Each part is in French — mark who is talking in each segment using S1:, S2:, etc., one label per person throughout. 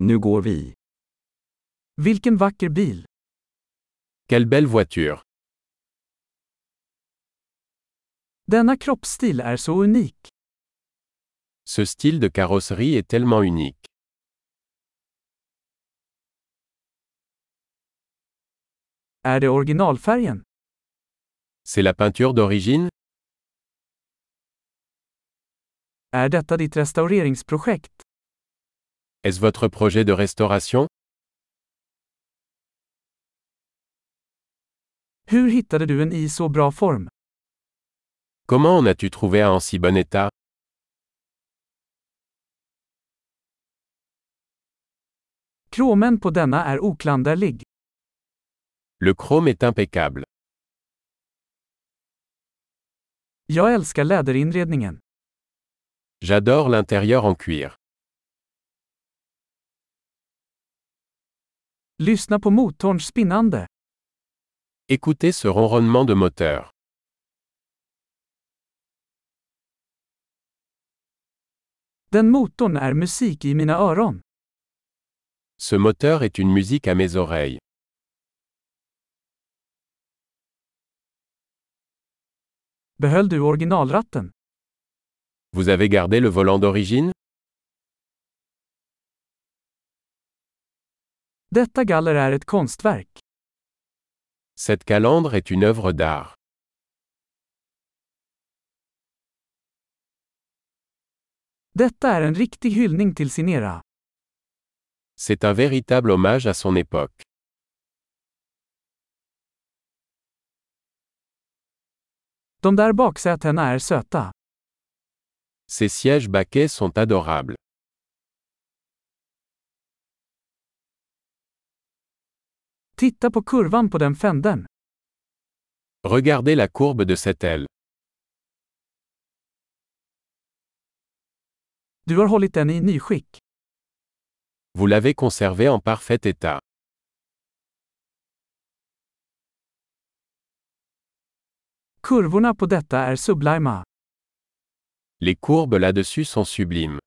S1: Nu går vi.
S2: Vilken vacker bil!
S3: Quelle belle voiture.
S2: Denna kroppsstil är så unik.
S3: Ce style de carrosserie est tellement unique.
S2: Är det originalfärgen?
S3: C'est la peinture d'origine
S2: Är detta ditt restaureringsprojekt?
S3: Est-ce votre projet de restauration
S2: Hur hittade du en i så bra form?
S3: Comment en as-tu trouvé un en si bon état
S2: Kromen på denna är oklanderlig.
S3: Le chrome est impeccable.
S2: Jag älskar läderinredningen.
S3: J'adore l'intérieur en cuir.
S2: Lyssna på motorns spinnande.
S3: Écoutez ce ronronnement de moteur.
S2: Den motorn är musik i mina öron.
S3: Ce moteur est une musique à mes oreilles.
S2: Behöll du originalratten?
S3: Vous avez gardé le volant d'origine
S2: Detta galler är ett konstverk.
S3: Cette calandre est une œuvre d'art.
S2: Detta är en riktig hyllning till sin era.
S3: C'est un véritable hommage à son époque.
S2: De där baksätena är söta.
S3: Ces sièges baquets sont adorables.
S2: Titta på kurvan på den fänden.
S3: Regardez la courbe de cette aile.
S2: Du har hållit den i nyskick.
S3: Vous l'avez conservée en parfait état.
S2: Kurvorna på detta är sublima.
S3: Les courbes là-dessus sont sublimes.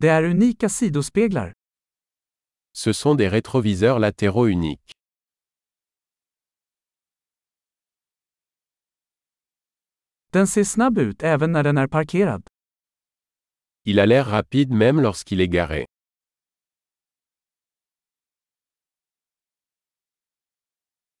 S2: Det är unika sidospeglar.
S3: Ce sont des rétroviseurs latéraux uniques.
S2: Den ser snabb ut även när den är parkerad.
S3: Il a l'air rapide même lorsqu'il est garé.